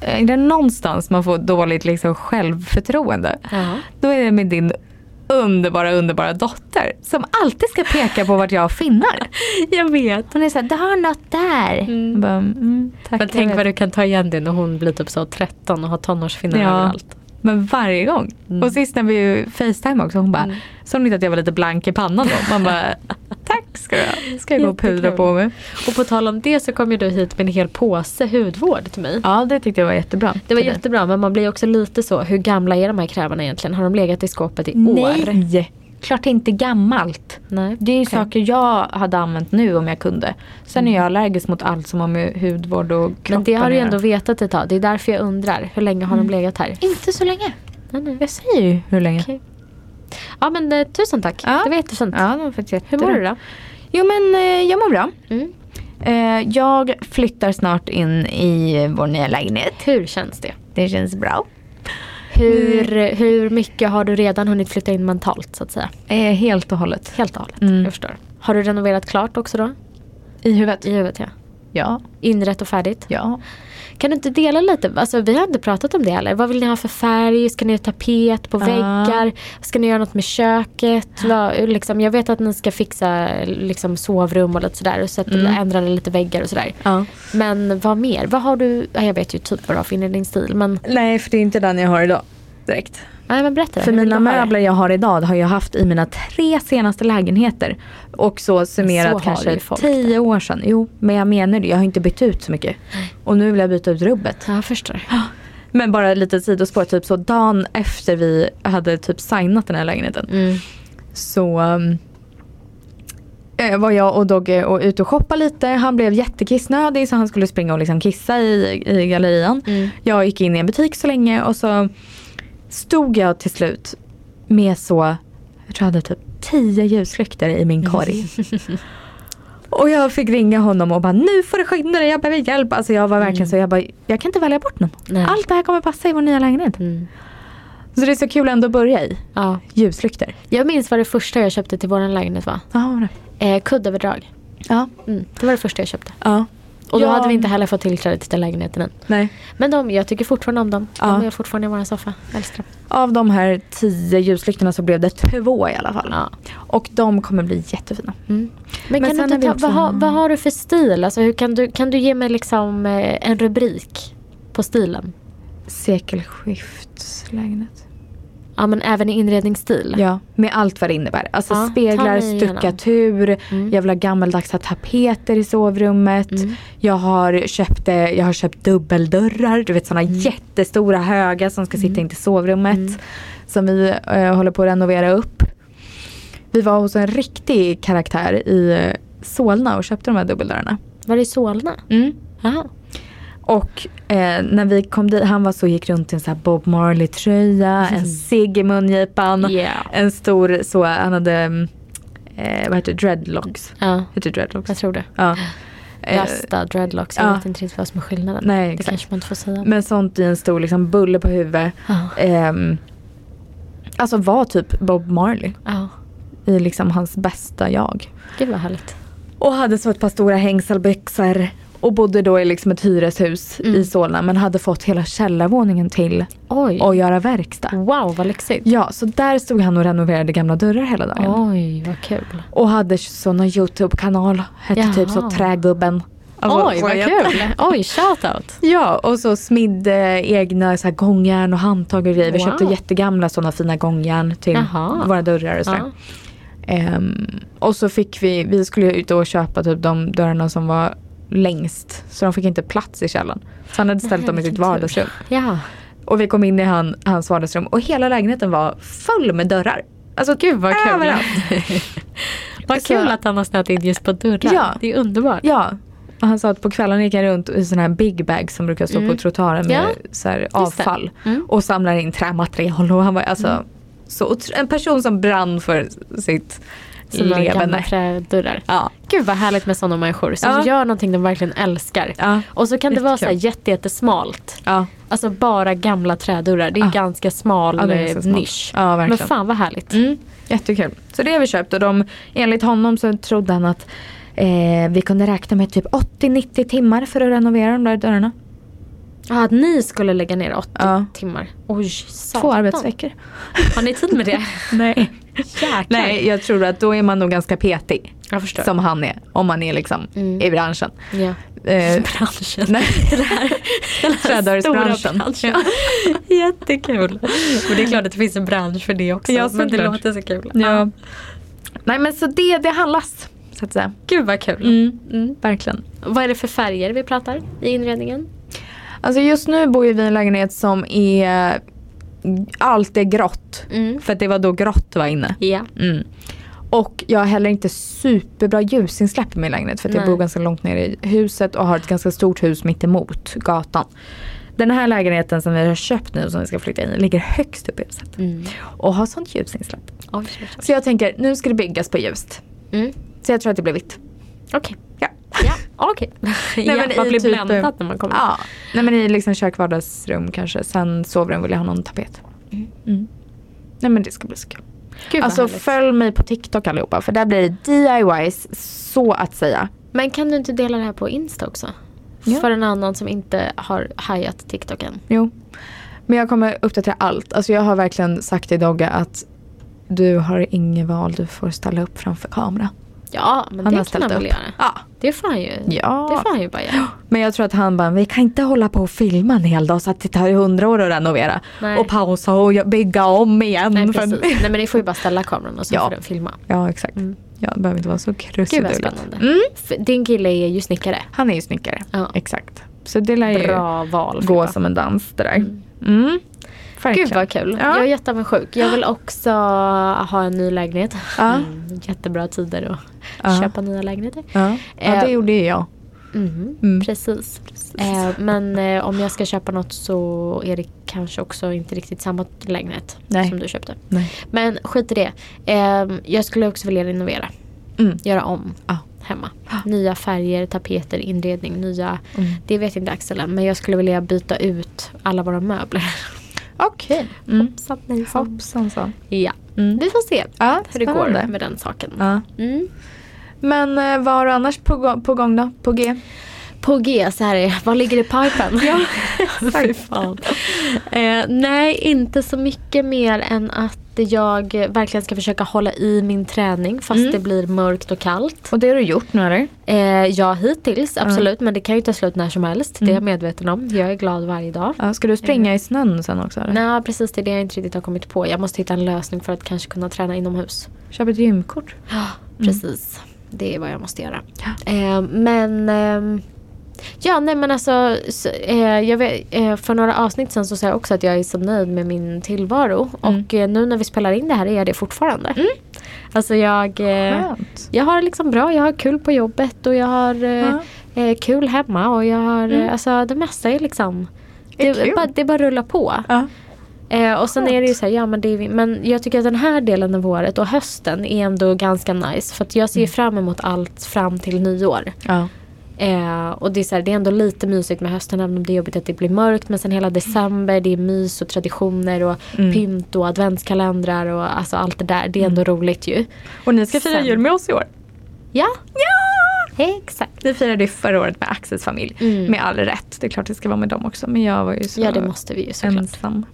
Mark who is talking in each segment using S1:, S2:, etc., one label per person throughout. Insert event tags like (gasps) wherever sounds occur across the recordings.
S1: Eh, är det någonstans man får dåligt liksom självförtroende
S2: Ja.
S1: (laughs) då är det med din underbara, underbara dotter som alltid ska peka på vart jag har finnar.
S2: Jag vet.
S1: Hon är såhär, du har något där.
S2: Mm.
S1: Jag Bara, mm, tack,
S2: Men
S1: jag
S2: tänk
S1: vet."
S2: vad du kan ta igen det när hon blir typ så 13 och har tonårsfinnar
S1: Ja.
S2: överallt.
S1: Men varje gång.
S2: Mm.
S1: Och sist när vi ju facetime också, hon bara,
S2: Mm.
S1: såg ni inte att jag var lite blank i pannan då? Man
S2: (laughs)
S1: bara, tack ska du ha. Ska jag gå och pudra
S2: Jättekul.
S1: på mig?
S2: Och på tal om det så kom ju du hit med en hel påse hudvård till mig.
S1: Ja det tyckte jag var jättebra.
S2: Det var jättebra men man blir också lite så, hur gamla är de här krämarna egentligen? Har de legat i skåpet i år?
S1: Nej, klart inte gammalt.
S2: Nej.
S1: Det är ju
S2: Okej.
S1: saker jag hade använt nu om jag kunde. Sen är jag allergisk mot allt som har med hudvård och kroppen Mm.
S2: Men det har du ju
S1: att
S2: ändå
S1: göra.
S2: vetat ett tag. Det är därför jag undrar, hur länge har de legat här?
S1: Inte så länge.
S2: Nej, nej.
S1: Jag säger ju hur länge.
S2: Okej. Ja men eh, tusen tack,
S1: Ja.
S2: det var jättefint.
S1: Ja, det var faktiskt
S2: Hur
S1: jättebra.
S2: mår du då?
S1: Jo men eh, jag mår bra.
S2: Mm.
S1: Eh, Jag flyttar snart in i vår nya lägenhet.
S2: Hur känns det?
S1: Det känns bra.
S2: Hur,
S1: Mm.
S2: hur mycket har du redan hunnit flytta in mentalt så att säga?
S1: Eh, Helt och hållet.
S2: Helt och hållet,
S1: Mm.
S2: jag förstår. Har du renoverat klart också då?
S1: I huvudet?
S2: I huvudet ja.
S1: Ja.
S2: Inrätt och färdigt?
S1: Ja.
S2: Kan du inte dela lite? Alltså, vi har inte pratat om det heller. Vad vill ni ha för färg? Ska ni ha tapet på
S1: Ja.
S2: väggar? Ska ni göra något med köket? Vad, liksom, jag vet att ni ska fixa liksom, sovrum och lite sådär. Och sätta,
S1: Mm.
S2: ändra lite väggar och sådär.
S1: ja.
S2: Men vad mer? Vad har du? Ja, jag vet ju typ vad du har för inredningsstil. Men,
S1: Nej för det är inte den jag har idag. Direkt.
S2: nej, men berätta.
S1: För
S2: Hur vill
S1: mina
S2: du ha det?
S1: möbler jag har idag det har jag haft i mina tre senaste lägenheter. Och så summerat
S2: Så har
S1: kanske
S2: ju folk
S1: tio år sedan. Jo, men jag menar det. Jag har inte bytt ut så mycket. Och nu vill jag byta ut rubbet.
S2: Ja, jag förstår.
S1: Men bara lite sidospår. Typ så dagen efter vi hade typ signat den här lägenheten.
S2: Mm.
S1: Så um, eh, var jag och Dogge och ute och shoppade lite. Han blev jättekissnödig så han skulle springa och liksom kissa i, i gallerian.
S2: Mm.
S1: Jag gick in i en butik så länge och så stod jag till slut med så, jag tror jag hade typ tio ljuslyktor i min korg. Och jag fick ringa honom och bara nu får du skynda dig, jag behöver hjälp. Alltså jag var verkligen så, jag bara jag kan inte välja bort någon.
S2: Nej.
S1: Allt det här kommer passa i vår nya lägenhet.
S2: Mm.
S1: Så det är så kul ändå att börja i,
S2: Ja.
S1: ljuslyktor.
S2: Jag minns vad det första jag köpte till vår lägenhet var.
S1: Ja,
S2: Eh, kuddöverdrag.
S1: ja.
S2: Mm. Det var det första jag köpte.
S1: ja.
S2: Och då
S1: Ja.
S2: hade vi inte heller fått tillträde till den lägenheten än.
S1: Nej.
S2: Men de, jag tycker fortfarande om dem.
S1: Ja.
S2: De är fortfarande i vår soffa. Jag Älskar dem.
S1: Av de här tio ljuslyktorna så blev det två i alla fall.
S2: Ja.
S1: Och de kommer bli jättefina.
S2: Mm.
S1: Men
S2: Men, kan du
S1: sen
S2: inte
S1: har vi också-
S2: ta, vad, har, vad har du för stil? Alltså, hur kan, du, kan du ge mig liksom eh, en rubrik på stilen?
S1: Sekelskiftslägenhet.
S2: Ja men även i inredningsstil.
S1: Ja, med allt vad det innebär. Alltså
S2: Ja, ta
S1: speglar,
S2: mig igenom.
S1: stuckatur,
S2: Mm.
S1: jag vill ha gammaldagsa tapeter i sovrummet.
S2: Mm.
S1: Jag, har köpt, eh, jag har köpt dubbeldörrar, du vet sådana
S2: Mm.
S1: jättestora höga som ska sitta in till sovrummet. Som vi eh, håller på att renovera upp. Vi var hos en riktig karaktär i eh, Solna och köpte de här dubbeldörrarna.
S2: Var det i Solna?
S1: Mm.
S2: Jaha.
S1: Och eh, när vi kom dit, han var så gick runt i en så här Bob Marley tröja, en cigg i mungipan.
S2: Mm. Yeah.
S1: En stor så, han hade, mm, eh, vad heter det, dreadlocks.
S2: Ja,
S1: Heter det dreadlocks?
S2: jag tror det.
S1: Ja. Eh,
S2: Rasta, dreadlocks. Jag
S1: ja.
S2: vet inte riktigt vad som är skillnaden.
S1: Nej,
S2: det
S1: exakt.
S2: kanske man inte får säga.
S1: Men sånt i en stor liksom bulle på huvudet.
S2: Ja.
S1: Ehm, alltså var typ Bob Marley
S2: Ja.
S1: i liksom hans bästa jag.
S2: Gud vad härligt.
S1: Och hade så ett par stora hängselbyxor. Och bodde då i liksom ett hyreshus
S2: Mm.
S1: i Solna men hade fått hela källarvåningen till
S2: Oj.
S1: att göra verkstad.
S2: Wow vad lyxigt.
S1: Ja, så där stod han och renoverade gamla dörrar hela dagen.
S2: Oj vad kul.
S1: Och hade såna YouTube-kanal. Hette typ så
S2: Jaha.
S1: Trägubben. Alltså,
S2: Oj vad kul. Oj shoutout.
S1: Ja, och så smidde egna så här, gångjärn och handtag och grejer. Vi
S2: Wow.
S1: köpte jättegamla såna fina gångjärn till
S2: Jaha.
S1: våra dörrar och sådär.
S2: Ja.
S1: Ehm, och så fick vi, vi skulle ju ut och köpa typ de dörrarna som var längst. Så de fick inte plats i källaren. Så han hade ställt dem i sitt
S2: vilken tur.
S1: vardagsrum.
S2: ja.
S1: Och vi kom in i han, hans vardagsrum och hela lägenheten var full med dörrar. Alltså
S2: Gud vad kul.
S1: överallt.
S2: (laughs) Vad
S1: Så-
S2: kul att han har snöat in just på dörrar.
S1: Alltså- Ja.
S2: Det är underbart.
S1: Ja. Och han sa att på kvällen gick han runt i sån här big bag som brukar stå
S2: Mm.
S1: på trottoaren med
S2: Ja.
S1: så här
S2: Just det.
S1: avfall.
S2: Mm.
S1: Och samlar in trämaterial. Och han var alltså så otro- en person som brann för sitt
S2: Sina gamla
S1: leverne.
S2: trädörrar.
S1: Ja.
S2: Gud vad härligt med sådana människor som
S1: Ja.
S2: gör någonting de verkligen älskar.
S1: Ja.
S2: Och så kan det vara så här
S1: Jättekul.
S2: jätte, jättesmalt.
S1: Ja.
S2: Alltså bara gamla trädörrar. Det är
S1: Ja.
S2: ganska smal
S1: Ja, det är ganska
S2: eh,
S1: smalt.
S2: nisch.
S1: Ja, verkligen.
S2: Men fan vad härligt.
S1: Mm. Jättekul. Så det har vi köpt och de, enligt honom så trodde han att eh, vi kunde räkna med typ 80-90 timmar för att renovera de där dörrarna.
S2: Ja, att ni skulle lägga ner 80
S1: Ja.
S2: timmar. Oj, satan.
S1: Två arbetsveckor.
S2: Har ni tid med det?
S1: (laughs) Nej.
S2: Jäklar.
S1: Nej, jag tror att då är man nog ganska petig.
S2: Jag förstår.
S1: Som han är, om man är liksom
S2: Mm.
S1: i branschen.
S2: Ja.
S1: Eh,
S2: (laughs) Branschen.
S1: nej.
S2: Det här, den här
S1: Trädörrsbranschen.
S2: stora branschen. (laughs) Jättekul. Och det är klart att det finns en bransch för det också.
S1: Ja,
S2: men det
S1: såklart.
S2: låter så kul.
S1: ja. Nej men så det, det handlas. Så att säga.
S2: Gud vad kul.
S1: Mm,
S2: Mm.
S1: verkligen.
S2: Vad är det för färger vi pratar i inredningen?
S1: Alltså just nu bor ju vi i en lägenhet som är, allt är grått.
S2: Mm.
S1: För att det var då grått var inne.
S2: Ja.
S1: Mm. Och jag har heller inte superbra ljusinsläpp i min lägenhet för att jag
S2: Nej.
S1: bor ganska långt ner i huset och har ett ganska stort hus mitt emot gatan. Den här lägenheten som vi har köpt nu som vi ska flytta in i ligger högst upp i huset
S2: Mm.
S1: och har sånt ljusinsläpp.
S2: Oj, oj, oj.
S1: Så jag tänker nu ska det byggas på ljust.
S2: Mm.
S1: Så jag tror att det blir vitt.
S2: Okej.
S1: Ja.
S2: Ja, okej.
S1: (laughs) Nej,
S2: (laughs) ja,
S1: men
S2: man
S1: i
S2: blir
S1: typ-
S2: bländad när man kommer.
S1: Ja. Nej men i liksom kök, vardagsrum kanske. Sen sovrum vill jag ha någon tapet.
S2: Mm.
S1: Mm. Nej men det ska bli så kul.
S2: Gud, vad
S1: alltså
S2: härligt.
S1: följ mig på TikTok allihopa för där blir det DIYs så att säga.
S2: Men kan du inte dela det här på Insta också?
S1: Ja.
S2: För en annan som inte har hajat TikTok än.
S1: Jo. Men jag kommer uppdatera allt. Alltså jag har verkligen sagt till Dogge att du har inget val, du får ställa upp framför kamera.
S2: Ja, men
S1: Han har
S2: det kan
S1: ställt
S2: han väl
S1: upp.
S2: göra?
S1: Ja.
S2: Det får han ju.
S1: Ja.
S2: Det får han ju bara göra.
S1: Men jag tror att han bara, vi kan inte hålla på och filma en hel dag så att det tar ju hundra år att renovera.
S2: Nej.
S1: Och pausa och bygga om igen.
S2: Nej,
S1: för-
S2: precis. Nej, men ni får ju bara ställa kameran och så
S1: Ja.
S2: får den filma.
S1: (laughs) Ja exakt.
S2: Mm.
S1: Ja, det behöver inte vara så
S2: Gud vad
S1: krusidull.
S2: spännande.
S1: Mm.
S2: För Din kille är ju snickare.
S1: Han är ju snickare.
S2: Ja.
S1: Exakt. Så det lär ju
S2: Bra val.
S1: gå
S2: Filippa.
S1: som en dans det där. Mm.
S2: Mm.
S1: Verkligen.
S2: Gud vad kul.
S1: Ja.
S2: Jag är jätteavundsjuk. Jag vill också ha en ny lägenhet.
S1: Ja.
S2: Mm, jättebra tider att
S1: Ja.
S2: köpa nya lägenheter.
S1: Ja. ja, det
S2: Eh,
S1: gjorde ju jag.
S2: Mhm,
S1: Mm.
S2: Precis. Eh, men eh, om jag ska köpa något så är det kanske också inte riktigt samma lägenhet
S1: Nej.
S2: som du köpte.
S1: Nej.
S2: Men skit i det. Eh, jag skulle också vilja renovera.
S1: Mm.
S2: Göra om
S1: Ja.
S2: hemma. Nya färger, tapeter, inredning, nya...
S1: Mm.
S2: Det vet inte Axel än, men jag skulle vilja byta ut alla våra möbler.
S1: Okej.
S2: (laughs)
S1: Mm.
S2: Hoppsan hejsan.
S1: Hoppsan så.
S2: Ja.
S1: Mm.
S2: Vi får se
S1: Ja,
S2: hur det
S1: spännande.
S2: går med den saken.
S1: Ja.
S2: Mm.
S1: Men eh, vad har du annars på, gå- på gång då? På G?
S2: På G, så här är Vad ligger i pipen?
S1: (laughs) Ja,
S2: (laughs) Fy fan. Eh, nej, inte så mycket mer än att jag verkligen ska försöka hålla i min träning fast
S1: Mm.
S2: det blir mörkt och kallt.
S1: Och det har du gjort nu eller?
S2: Eh, ja, hittills
S1: Ja. Mm.
S2: absolut. Men det kan ju ta slut när som helst. Det är jag medveten om. Jag är glad varje dag.
S1: Ja, ska du springa i snön sen också? Eller?
S2: Nej, precis. Det är det jag inte riktigt har kommit på. Jag måste hitta en lösning för att kanske kunna träna inomhus.
S1: Köp ett gymkort.
S2: Ja, precis. Det är vad jag måste göra. Eh, men... ehm, ja, nej men alltså. s- eh, jag vet, eh, för några avsnitt sen så sa jag också att jag är så nöjd med min tillvaro.
S1: Mm.
S2: Och eh, nu när vi spelar in det här är jag det fortfarande. Alltså jag... Eh,
S1: Skönt.
S2: jag har liksom bra, jag har kul på jobbet och jag har eh, eh, kul hemma och jag har...
S1: Mm.
S2: Eh, alltså det mesta är liksom...
S1: Det är
S2: Det,
S1: kul.
S2: bara, det bara rullar på.
S1: Ja.
S2: Eh, och sen
S1: Skönt.
S2: är det ju så här, ja men, det är, vi- men jag tycker att den här delen av året och hösten är ändå ganska nice. För att jag ser
S1: Mm.
S2: ju fram emot allt fram till nyår.
S1: Ja.
S2: Eh, och det är, så här, det är ändå lite mysigt med hösten även om det är jobbigt att det blir mörkt. Men sen hela december, det är mys och traditioner och
S1: Mm.
S2: pynt och adventskalendrar och alltså allt det där. Det är ändå roligt ju.
S1: Och ni ska fira
S2: Sen.
S1: jul med oss i år?
S2: Ja,
S1: Ja!
S2: exakt.
S1: Vi firade ju förra året med Axels familj.
S2: Mm.
S1: Med all rätt. Det är klart det ska vara med dem också. Men jag var ju så
S2: Ja det måste vi ju såklart.
S1: ensam.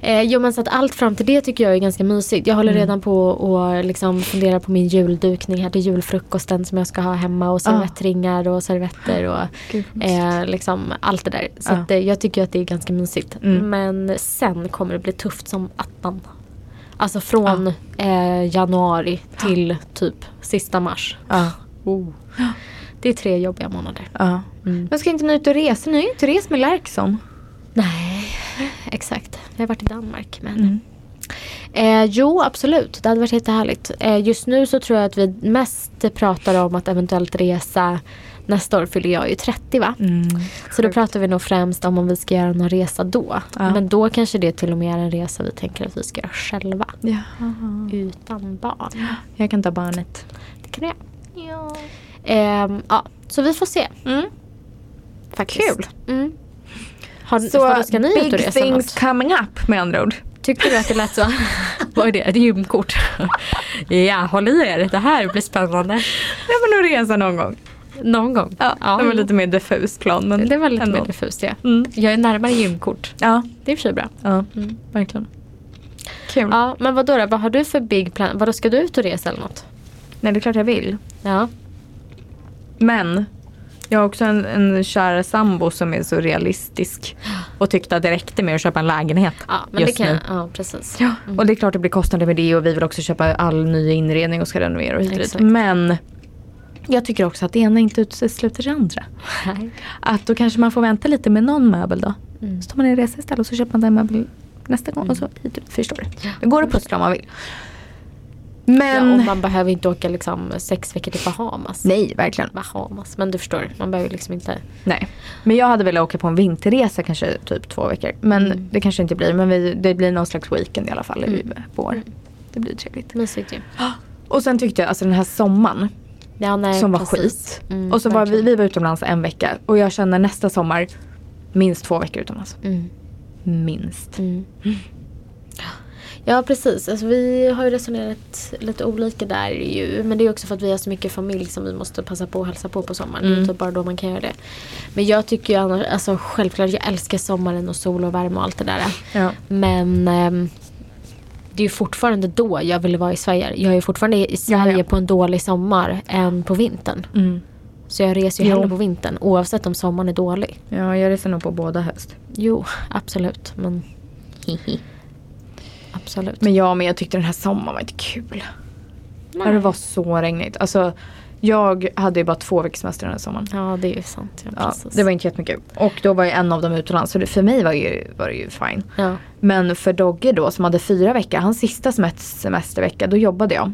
S2: Eh, jo men så att allt fram till det tycker jag är ganska mysigt. Jag håller
S1: Mm.
S2: redan på och liksom fundera på min juldukning här till julfrukosten som jag ska ha hemma och servettringar och servetter och
S1: Ah. Gud, vad mysigt.
S2: eh, liksom allt det där. Så
S1: Ja.
S2: att, eh, jag tycker att det är ganska mysigt.
S1: Mm.
S2: Men sen kommer det bli tufft som attan. Alltså från
S1: Ah.
S2: eh, januari till typ sista mars.
S1: Ja.
S2: Det är tre jobbiga månader.
S1: ja.
S2: Mm.
S1: Oh. Men ska inte ni ut och resa? Ni har ju inte rest med Lärkson.
S2: Nej, exakt. Jag har varit i Danmark men
S1: Mm.
S2: Eh, jo, absolut. Det hade varit jättehärligt. Eh, just nu så tror jag att vi mest pratar om att eventuellt resa. Nästa år fyller jag ju 30 va?
S1: Mm.
S2: Så då
S1: Sjukt.
S2: pratar vi nog främst om om vi ska göra någon resa då.
S1: Ja.
S2: Men då kanske det till och med är en resa vi tänker att vi ska göra själva.
S1: Jaha.
S2: Utan barn.
S1: Jag kan ta barnet.
S2: Det kan jag. Ehm, ja, så vi får se.
S1: Mm.
S2: Faktiskt.
S1: Kul.
S2: Mm. Har,
S1: Så
S2: så ska ni ut och
S1: big
S2: resa
S1: things
S2: något?
S1: coming up med andra ord.
S2: Tyckte du att
S1: (laughs)
S2: det lät så? Vad är det? Ett (laughs) gymkort? ja, håll i er. Det här blir spännande.
S1: Nej men att resa någon gång.
S2: Någon gång.
S1: Ja, det var lite mer diffus plan. Men
S2: det var lite
S1: ändå.
S2: mer diffust ja.
S1: Mm.
S2: Jag är närmare gymkort.
S1: Ja,
S2: Det är i och för sig bra.
S1: ja,
S2: Mm.
S1: verkligen. Kul.
S2: Ja, men vad då, då? Vad har du för big plan? Vadå, ska du ut och resa eller något?
S1: Nej, det är klart jag vill.
S2: Ja.
S1: Men jag har också en, en kär sambo som är så realistisk och tyckte att det räckte med att köpa en lägenhet
S2: Ja, men
S1: just
S2: det kan
S1: nu.
S2: Ja, precis. Mm.
S1: Ja, och det är klart det blir kostnader med det och vi vill också köpa all ny inredning och ska renovera och hit och dit.
S2: Exakt.
S1: Men jag tycker också att det ena inte utesluter det andra.
S2: Nej.
S1: Att då kanske man får vänta lite med någon möbel då.
S2: Mm.
S1: Så tar man en resa istället och så köper man den möbel nästa gång och så hit och dit. Förstår du? Det går att pussla om man vill.
S2: Ja,
S1: Men...
S2: och man behöver inte åka liksom sex veckor till Bahamas.
S1: Nej, verkligen.
S2: Bahamas, men du förstår. Man behöver liksom inte.
S1: Nej. Men jag hade velat åka på en vinterresa kanske typ två veckor. Men
S2: Mm.
S1: det kanske inte blir. Men vi, det blir någon slags weekend i alla fall i
S2: Mm.
S1: vår.
S2: Mm.
S1: Det blir trevligt.
S2: Mysigt ju.
S1: Och sen tyckte jag alltså den här sommaren
S2: Ja, nej,
S1: som var
S2: precis.
S1: skit.
S2: Mm,
S1: och så var vi,
S2: verkligen.
S1: vi var utomlands en vecka och jag känner nästa sommar minst två veckor utomlands.
S2: Mm.
S1: Minst.
S2: Mm. Ja precis, alltså, vi har ju resonerat lite olika där ju. Men det är också för att vi har så mycket familj som vi måste passa på att hälsa på på sommaren. Det är
S1: Mm.
S2: typ bara då man kan göra det. Men jag tycker ju annars, alltså självklart jag älskar sommaren och sol och värme och allt det där.
S1: Ja.
S2: Men ehm, det är ju fortfarande då jag ville vara i Sverige. Jag är ju fortfarande i
S1: Ja, ja.
S2: Sverige på en dålig sommar än på vintern.
S1: Mm.
S2: Så jag reser ju
S1: Jo.
S2: hellre på vintern oavsett om sommaren är dålig.
S1: ja, jag reser nog på båda höst.
S2: Jo, absolut. Men absolut.
S1: Men jag men jag tyckte den här sommaren var inte kul. Ja, det var så regnigt. Alltså, jag hade ju bara två veckors semester den här sommaren.
S2: Ja, det är ju sant. Ja,
S1: Ja,
S2: precis.
S1: det var inte jättemycket. Och då var ju en av dem utomlands så det, för mig var, ju, var det ju fine.
S2: ja.
S1: Men för Dogge då som hade fyra veckor, hans sista semest- semestervecka då jobbade jag.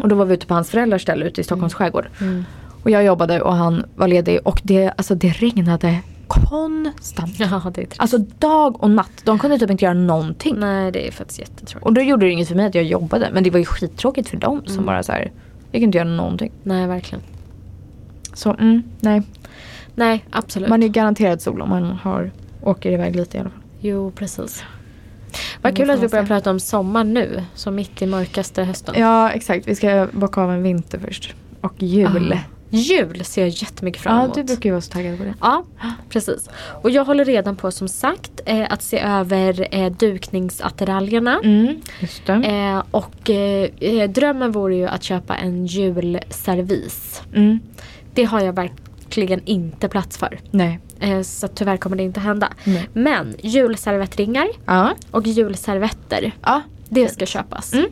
S1: Och då var vi ute på hans föräldrars ställe ute i Stockholms skärgård.
S2: Mm.
S1: Och jag jobbade och han var ledig och det, alltså, det regnade konstant.
S2: (laughs) ja, det är trist.
S1: Alltså dag och natt, de kunde typ inte göra någonting.
S2: Nej, det är faktiskt jättetråkigt.
S1: Och då gjorde det inget för mig att jag jobbade men det var ju skittråkigt för dem som
S2: Mm.
S1: bara så här, jag kan inte göra någonting.
S2: Nej, verkligen.
S1: Så mm, nej,
S2: Nej, absolut.
S1: man är ju garanterad sol om man har, åker iväg lite i alla fall.
S2: Jo, precis.
S1: Men
S2: Vad kul
S1: vad
S2: att vi
S1: fan
S2: börjar
S1: ska-
S2: prata om sommar nu. Så mitt i mörkaste hösten.
S1: Ja exakt, vi ska bocka av en vinter först. Och jul.
S2: Ah. Jul ser jag jättemycket fram emot.
S1: Ja, du brukar ju vara så taggad på det.
S2: Ja, precis. Och jag håller redan på som sagt eh, att se över eh, dukningsattiraljerna.
S1: Mm, just det.
S2: Eh, och eh, eh, drömmen vore ju att köpa en julservis.
S1: Mm.
S2: Det har jag verkligen inte plats för.
S1: Nej.
S2: Eh, så tyvärr kommer det inte hända.
S1: Nej.
S2: Men julservettringar
S1: Ja.
S2: och julservetter.
S1: Ja.
S2: Det ska köpas.
S1: Mm.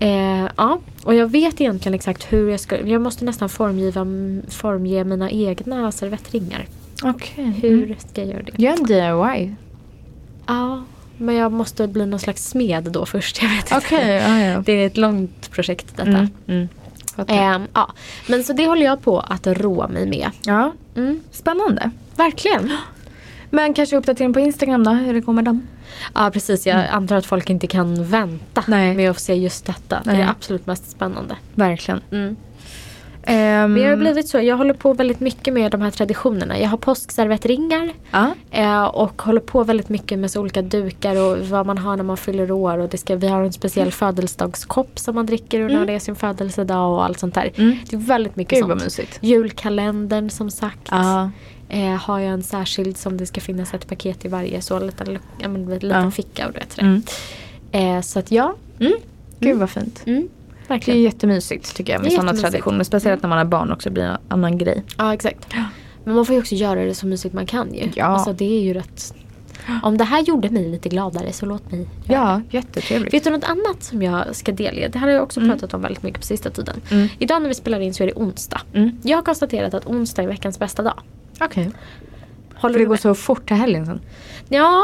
S2: Eh, ja, och jag vet egentligen exakt hur jag ska... Jag måste nästan formgiva, formge mina egna servettringar.
S1: Okej.
S2: Hur
S1: Mm.
S2: ska jag göra det?
S1: Gör en DIY.
S2: Ja, men jag måste bli någon slags smed då först. Jag vet inte.
S1: ja, (laughs) ja.
S2: (laughs) Det är ett långt projekt detta.
S1: Mm. Mm. Fattar.
S2: Ehm, ja. Men så det håller jag på att roa mig med.
S1: Ja.
S2: Mm.
S1: Spännande. (gasps)
S2: Verkligen. (gasps)
S1: Men kanske uppdatering på Instagram då, hur det går med dem?
S2: Ja precis, jag antar att folk inte kan vänta
S1: Mm. Nej.
S2: med att få se just detta. Det
S1: Nej.
S2: är absolut mest spännande.
S1: Verkligen.
S2: Mm.
S1: Ehm,
S2: Men jag har blivit så, jag håller på väldigt mycket med de här traditionerna. Jag har påskservettringar
S1: Ja.
S2: eh, och håller på väldigt mycket med så olika dukar och vad man har när man fyller år. Och det ska, vi har en speciell
S1: Mm.
S2: födelsedagskopp som man dricker och när det är sin födelsedag och allt sånt där.
S1: Mm.
S2: Det är väldigt mycket
S1: Gud vad
S2: sånt.
S1: mysigt.
S2: Julkalendern som sagt.
S1: Ja.
S2: Eh, har jag en särskild som det ska finnas ett paket i varje så en liten, lu- ja, men, en liten
S1: Ja.
S2: ficka och du vet det.
S1: Mm.
S2: Eh, så att ja,
S1: Mm. Gud vad fint.
S2: mm,
S1: Det är
S2: verkligen.
S1: jättemysigt tycker jag
S2: Det
S1: med
S2: är
S1: sådana
S2: jättemysigt.
S1: traditioner. Speciellt när man har barn också blir det en annan grej.
S2: Ja exakt. Men man får ju också göra det så mysigt man kan ju.
S1: Ja.
S2: Alltså det är ju rätt. Om det här gjorde mig lite gladare så låt mig göra
S1: Ja,
S2: det.
S1: jättetrevligt.
S2: Vet du något annat som jag ska delge? Det här har jag också
S1: Mm.
S2: pratat om väldigt mycket på sista tiden.
S1: Mm.
S2: Idag när vi spelar in så är det onsdag.
S1: Mm.
S2: Jag har konstaterat att onsdag är veckans bästa dag.
S1: Okej.
S2: Håller
S1: För det
S2: du
S1: går
S2: med?
S1: så fort till helgen sen.
S2: Ja,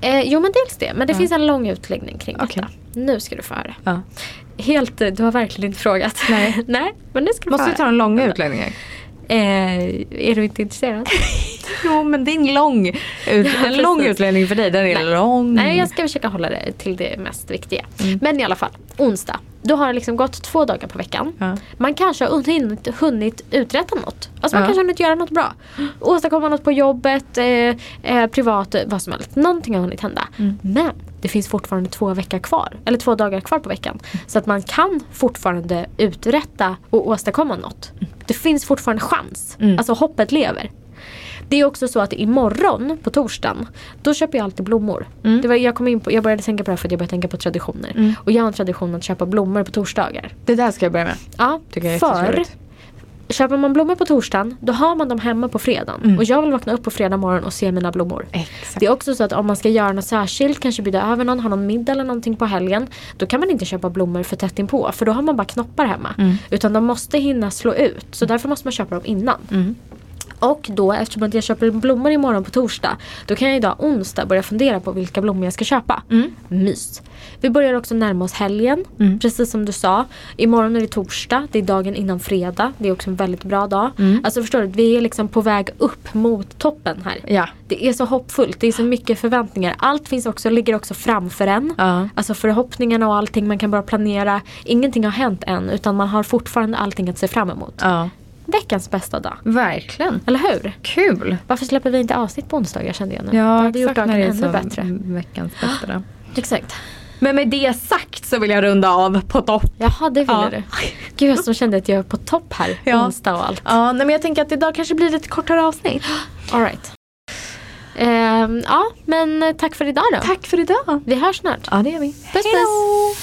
S2: eh, jo men dels det. Men det
S1: Ja.
S2: finns en lång utläggning kring
S1: Okej.
S2: detta. Nu ska du få höra.
S1: Ja.
S2: Helt, eh, du har verkligen inte frågat.
S1: Nej.
S2: (laughs) Nej men nu ska du
S1: Måste vi
S2: få
S1: ta
S2: höra.
S1: den långa utläggningen?
S2: Eh, är du inte intresserad?
S1: Jo men det är en lång, ut, en
S2: precis.
S1: lång utläggning för dig. Den är
S2: Nej.
S1: lång.
S2: Nej, jag ska försöka hålla det till det mest viktiga.
S1: Mm.
S2: Men i alla fall, onsdag. Då har det liksom gått två dagar på veckan.
S1: Ja.
S2: Man kanske har hunnit, hunnit uträtta något. Alltså man
S1: Ja.
S2: kanske har hunnit göra något bra. Åstadkomma något på jobbet, eh, eh, privat, eh, vad som helst. Någonting har hunnit hända.
S1: Mm.
S2: Men det finns fortfarande två, veckor kvar, eller två
S1: Mm.
S2: dagar kvar på veckan. Så att man kan fortfarande uträtta och åstadkomma något. Du Det finns fortfarande chans.
S1: Mm.
S2: Alltså hoppet lever. Det är också så att imorgon på torsdagen då köper jag alltid blommor.
S1: Mm.
S2: Det var, jag, kom in på, jag började tänka på det här för att jag började tänka på traditioner.
S1: Mm.
S2: Och jag har en tradition att köpa blommor på torsdagar.
S1: Det där ska jag börja med.
S2: Ja,
S1: Tycker jag är
S2: för
S1: jättetrevligt.
S2: köper man blommor på torsdagen då har man dem hemma på fredagen.
S1: Mm.
S2: Och jag vill vakna upp på fredag morgon och se mina blommor.
S1: Exakt.
S2: Det är också så att om man ska göra något särskilt, kanske bjuda över någon, ha någon middag eller någonting på helgen. Då kan man inte köpa blommor för tätt inpå för då har man bara knoppar hemma.
S1: Mm.
S2: Utan de måste hinna slå ut så därför måste man köpa dem innan.
S1: Mm.
S2: Och då eftersom att jag köper blommor imorgon på torsdag då kan jag idag onsdag börja fundera på vilka blommor jag ska köpa.
S1: Mm.
S2: Mys. Vi börjar också närma oss helgen.
S1: Mm.
S2: Precis som du sa. Imorgon är det torsdag. Det är dagen innan fredag. Det är också en väldigt bra dag.
S1: Mm.
S2: Alltså förstår du, vi är liksom på väg upp mot toppen här.
S1: Ja.
S2: Det är så hoppfullt. Det är så mycket förväntningar. Allt finns också, ligger också framför en.
S1: Ja.
S2: Alltså förhoppningarna och allting. Man kan bara planera. Ingenting har hänt än utan man har fortfarande allting att se fram emot.
S1: ja.
S2: Veckans bästa dag.
S1: Verkligen.
S2: Eller hur?
S1: Kul.
S2: Varför släpper vi inte avsnitt på onsdagar kände jag nu. Då
S1: Ja,
S2: hade vi gjort
S1: exakt
S2: dagen
S1: när det är
S2: ännu
S1: så
S2: bättre.
S1: veckans bästa dag.
S2: Exakt.
S1: Men med det sagt så vill jag runda av på topp.
S2: Jaha, det ville
S1: Ja.
S2: du. Gud, jag som kände att jag är på topp här.
S1: (laughs) Ja.
S2: Onsdag och allt.
S1: Ja, nej, men jag tänker att idag kanske blir ett kortare avsnitt.
S2: All right. Ehm, ja, men tack för idag då.
S1: Tack för idag.
S2: Vi hörs snart.
S1: Ja, det gör vi.
S2: Puss, puss.